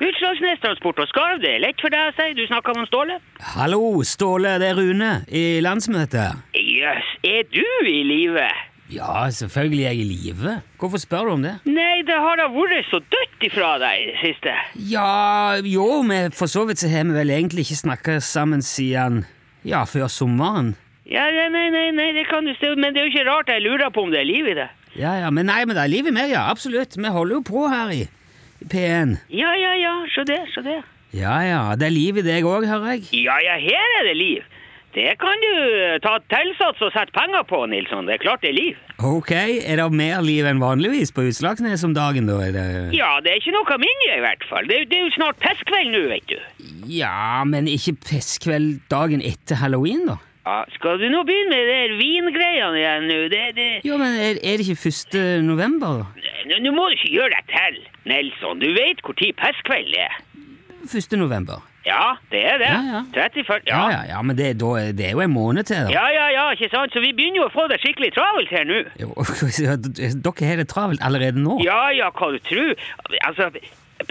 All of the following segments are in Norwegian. Utslagsnes Transport og Skarv, det er lett for deg å si, du snakker om Ståle. Hallo, Ståle, det er Rune i landsmøtet. Jøss, yes, er du i live? Ja, selvfølgelig er jeg i live. Hvorfor spør du om det? Nei, det har da vært så dødt ifra deg i det siste. Ja, jo, men for så vidt så har vi vel egentlig ikke snakket sammen siden ja, før sommeren. Ja, nei, nei, nei, nei, det kan du stå, men det er jo ikke rart jeg lurer på om det er liv i det. Ja, ja, men nei, men det er liv i meg, ja, absolutt. Vi holder jo på her i i P1. Ja, ja, ja, se det, se det. Ja, ja, det er liv i deg òg, hører jeg. Ja, ja, her er det liv. Det kan du eh, ta tilsats og sette penger på, Nilsson. Det er klart det er liv. Ok, er det mer liv enn vanligvis på Utslagsnes om dagen, da? Er det... Ja, det er ikke noe mindre i hvert fall. Det, er jo- det er jo snart pestkveld nå, vet du. Ja, men ikke pestkveld dagen etter halloween, da? Ja, skal du nå begynne med det her vingreiene igjen nå? Det, det... Jo, men er, er det ikke 1. november, da? Nå nå må du ikke gjøre deg til, Nilsson. Du vet hvor tid pestkveld er. 1. november. Ja, det er det. Ja, ja. 34, Ja, ja, ja, men det, da, er- det er jo en måned til, da. Ja, ja, ja, ikke sant? Så vi begynner jo å få det skikkelig travelt her nå. Jo, dere har det travelt allerede nå? Ja, ja, hva du tror. Altså,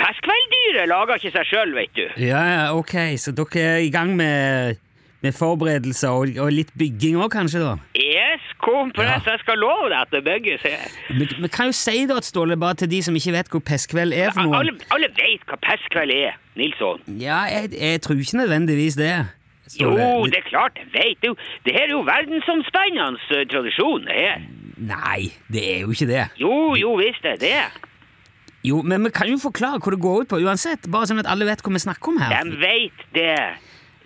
pestkvelddyret lager ikke seg sjøl, vet du. Ja, ja, ok, så dere er i gang med, med forberedelser og, og litt bygging òg, kanskje? da? Yes, kompress, jeg skal love deg at det bygges her. Vi, vi kan jo si da, at Ståle, bare til de som ikke vet hvor pestkveld er for Alle, noen alle vet hva pestkveld er, Nilsson. Ja, jeg, jeg tror ikke nødvendigvis det. Jo, Ståle. det er klart, jeg vet du. Det her er jo verdensomspennende eh, tradisjon, det her. Nei, det er jo ikke det. Jo, jo, visst er det. Jo, Men vi kan jo forklare hva det går ut på uansett, bare sånn at alle vet hva vi snakker om her. De vet det.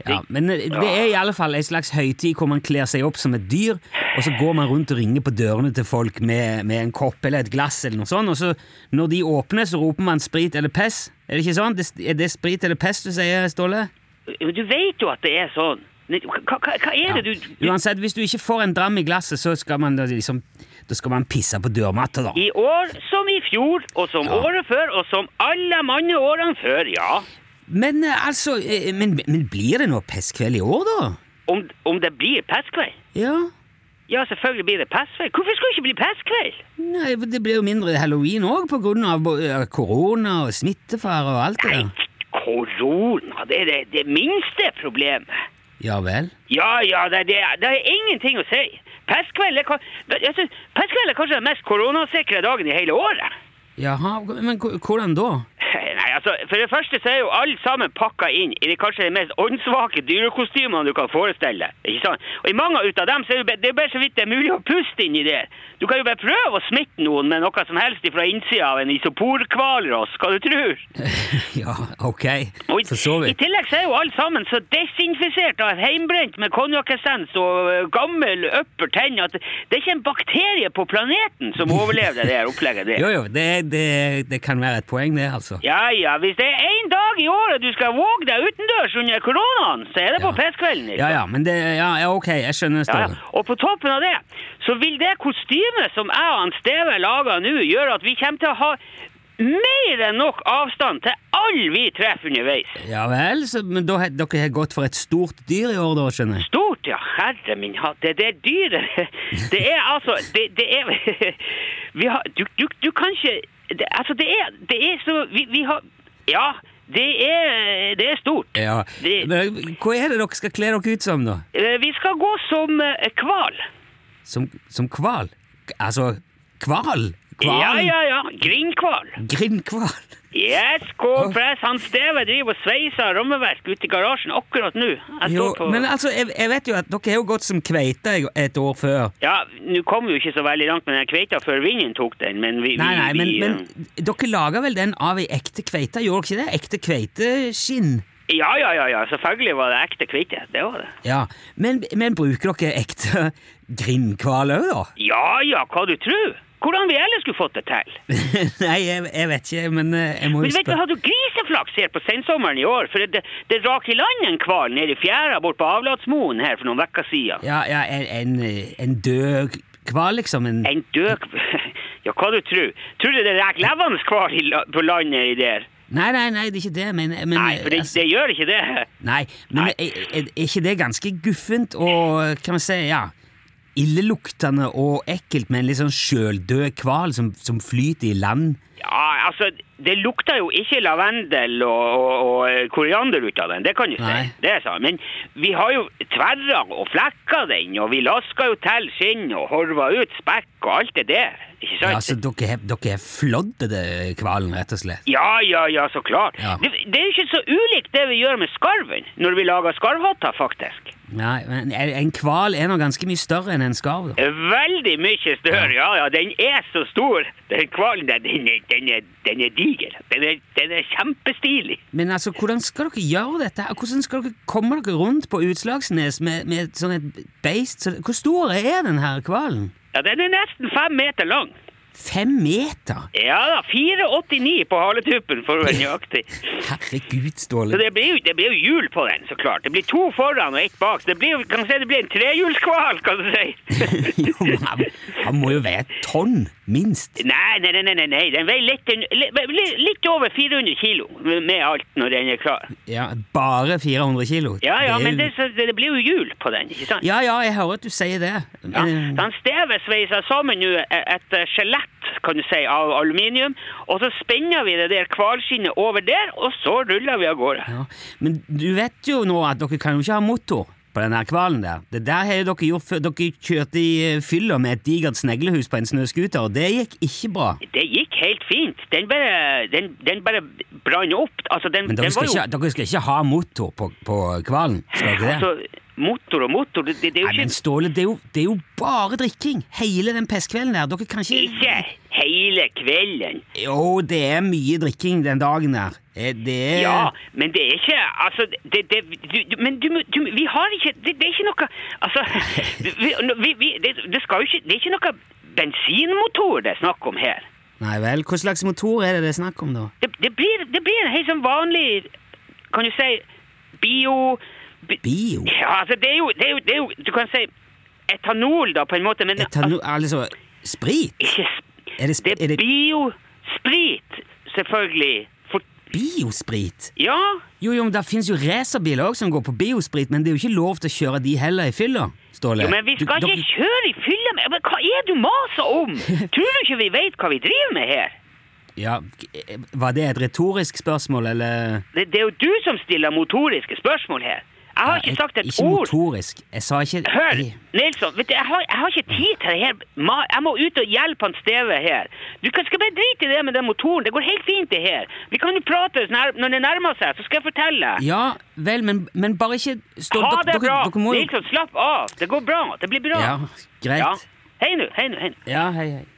Ja, men eh, det er i alle fall en slags høytid hvor man kler seg opp som et dyr, og så går man rundt og ringer på dørene til folk med, med en kopp eller et glass eller noe sånt, og så når de åpner, så roper man sprit eller pess. Er det ikke sånn? Det, er det sprit eller pess du sier, Ståle? Men Du vet jo at det er sånn. Men Hva, hva, hva er det du, du Uansett, hvis du ikke får en dram i glasset, så skal man da liksom Da skal man pisse på dørmatta, da. I år som i fjor, og som året før, og som alle manne årene før, ja. Men eh, altså eh, Men, men blir det noe pesskveld i år, da? Om, om det blir pestkveld? Ja? Ja, selvfølgelig blir det pestkveld. Hvorfor skulle det ikke bli pestkveld? Nei, det blir jo mindre halloween òg, på grunn av eh, korona og smittefare og alt det Nei, der. korona, det er det, det minste problemet. Ja vel? Ja, ja, det, det, det er ingenting å si. Pestkveld er, ka- jeg synes, pestkveld er kanskje den mest koronasikre dagen i hele året. Jaha, men hvor- hvordan da? Nei, altså, For det første så er jo alle sammen pakka inn i de kanskje de mest åndssvake dyrekostymene du kan forestille deg. ikke sant? Og i mange ut av dem så er det jo bare- det er bare så vidt det er mulig å puste inn i det. Du kan jo bare prøve å smitte noen med noe som helst fra innsida av en isoporhvalross, hva du tror. ja, ok, Og i, for så I vidt. tillegg så er jo alle sammen så desinfisert av heimbrent med konjakkessens og ø, gammel øppertenn at det er ikke en bakterie på planeten som overlever det der opplegget der. Jo, jo, det, det, det kan være et poeng, det, altså. Ja, ja, hvis det er en dag i året du skal våge deg utendørs under koronaen, så er det på Ja. pestkvelden. ikke Ja, ja, men det Ja, ja, ok, jeg skjønner, Ja, ja. Ståle. Og på toppen av det, så vil det kostymet som jeg og han Steve lager nå, gjøre at vi kommer til å ha mer enn nok avstand til alle vi treffer underveis. Ja vel, så, men da, har- dere har gått for et stort dyr i år, da, skjønner jeg. Stort, ja, herre min hatt. Det, det er dyret. Det er altså Det, det er Vi har Du, du, du kan ikke det, Altså, det er, det er så Vi, vi har Ja, det er, det er stort. Ja. Det- Men hva er det dere skal kle dere ut som, da? Eh, Vi skal gå som eh, kval. Som, som kval? Altså, kval? Kval? Ja, ja, ja. Grindkval. Grindkval? Yes, K-press. Han Steve driver og sveiser rammeverk ute i garasjen akkurat nå. Jeg Jo, står på... men altså, jeg, jeg vet jo at dere har jo gått som kveite et år før. Ja, nå kom vi jo ikke så veldig langt med den kveita før vinden tok den, men vi... Nei, vi- nei, men, vi, eh, men dere lager vel den av ei ekte kveite, gjorde dere ikke det? Ekte kveiteskinn? eh, Ja, ja, ja, ja, selvfølgelig var det ekte kveite. Det var det. Ja, men, men bruker dere ekte grindhval òg, da? Ja, ja, hva du tror? Hvordan vi ellers skulle fått det til? nei, jeg, jeg vet ikke, men eh, jeg må Men jo vet du, spørre hadde du griseflaks her på sensommeren i år? For det, det rak i land en kval nede i fjæra bort på Avlatsmoen her for noen vekker siden. Ja, ja en, en, eh, en død hval, liksom? En, En død... Ja, hva du tror? Tror du det rek levende kval i la- på landet i der? nei, nei, nei, det er ikke det, men, men Nei, for det, altså, det gjør ikke det. nei, men Nei. Er, er, er ikke det ganske guffent og kan man si, ja Illeluktende og ekkelt med en litt sånn sjøldød hval som, som flyter i land? Ja, altså, det lukter jo ikke lavendel og, og, og koriander ut av den, det kan du si. Nei. Det er sant. Men vi har jo tverra og flekka den, og vi laska jo til skinn og horva ut spekk og alt det der. Ikke Ja, sant? altså, dere har- dere har flådd det hvalen, rett og slett. Ja, ja, ja, så klart. Ja. Det, det er jo ikke så ulikt det vi gjør med skarven, når vi lager skarvhatter, faktisk. Nei, men en en hval er nå ganske mye større enn en skarv. da. Veldig mye større, ja, ja. Den er så stor. Den hvalen der, den er, den er, den er diger. Den er, den er kjempestilig. Men altså, hvordan skal dere gjøre dette? her? Hvordan skal dere komme dere rundt på Utslagsnes med, med sånn et beist? Så, hvor stor er den her hvalen? Ja, den er nesten fem meter lang. Fem meter? Ja da, 4,89 på haletuppen, for å være nøyaktig. Herregud, Så Ståle. det blir, jo, det blir jo hjul på den, så klart. Det blir to foran og ett bak. Så det blir, jo- kan du si, det blir en trehjulskval, kan du si. jo, men han, han må jo veie et tonn, minst. Nei, nei, nei, nei, nei, nei. den veier litt, un- li- li- litt over 400 kilo med med alt når den er klar. Ja, Bare 400 kilo. Ja, ja, er men jo- det, så det blir jo hjul på den, ikke sant? Ja, ja, jeg hører at du sier det. Ja, Eh, så han stevet sveiser sammen nå e- et eh, skjelett, kan du si, av aluminium, og så spenner vi det der kvalskinnet over der, og så ruller vi av gårde. Ja. Men du vet jo nå at dere kan jo ikke ha motor på den her hvalen der. Det der har jo dere gjort før. Dere kjørte i eh, fylla med et digert sneglehus på en snøskuter, og det gikk ikke bra. Det gikk helt fint. Den bare, den, den bare brann opp. Altså, den, Men den dere var jo... skal, ikke, dere skal ikke ha motor på, på hvalen? Skal dere det? Altså, motor og motor, det, det, det er jo Nei, ikke... men Ståle, det er, jo, det er jo bare drikking hele den pestkvelden der. Dere kan ikke Ikke hele kvelden. Jo, det er mye drikking den dagen der. Eh, Det er Ja, men det er ikke Altså, det, det, du, du, men du, må- du, vi har ikke det, det er ikke noe Altså, vi, vi, vi, det, det skal jo ikke Det er ikke noe bensinmotor det er snakk om her. Nei vel, hva slags motor er det det er snakk om, da? Det, det, blir, det blir en helt sånn vanlig Kan du si bio... bi- Bio? Ja, altså, det er jo, det er jo, det er jo Du kan si etanol, da, på en måte, men Etanol Altså, sprit? ikke, s- Er det, sp det er er det biosprit, selvfølgelig. For, biosprit? ja. Jo, jo, men Det fins jo racerbiler også som går på biosprit, men det er jo ikke lov til å kjøre de heller i fylla. Ståle. Jo, men vi Du- skal dere- ikke kjøre i fylla med Men hva er du maser om? Tror du ikke vi vet hva vi driver med her? ja, eh, Var det et retorisk spørsmål, eller Det, det er jo du som stiller motoriske spørsmål her. Jeg har ikke sagt et Ikke ord. motorisk. Jeg sa ikke Hør, Nilsson, vet du, jeg, har, jeg har ikke tid til det her. Ma, jeg må ut og hjelpe han Steve her. Du kan, skal bare drite i det med den motoren. Det går helt fint, det her. Vi kan jo prate sånn her- når det nærmer seg, så skal jeg fortelle. Ja vel, men, men bare ikke Ha Ståle, dere- det dere- bra! Dere må jo Nilsson, slapp av. Det går bra. Det blir bra. Ja, greit. Hei nå, hei nå, hei nå. Ja, hei, hei.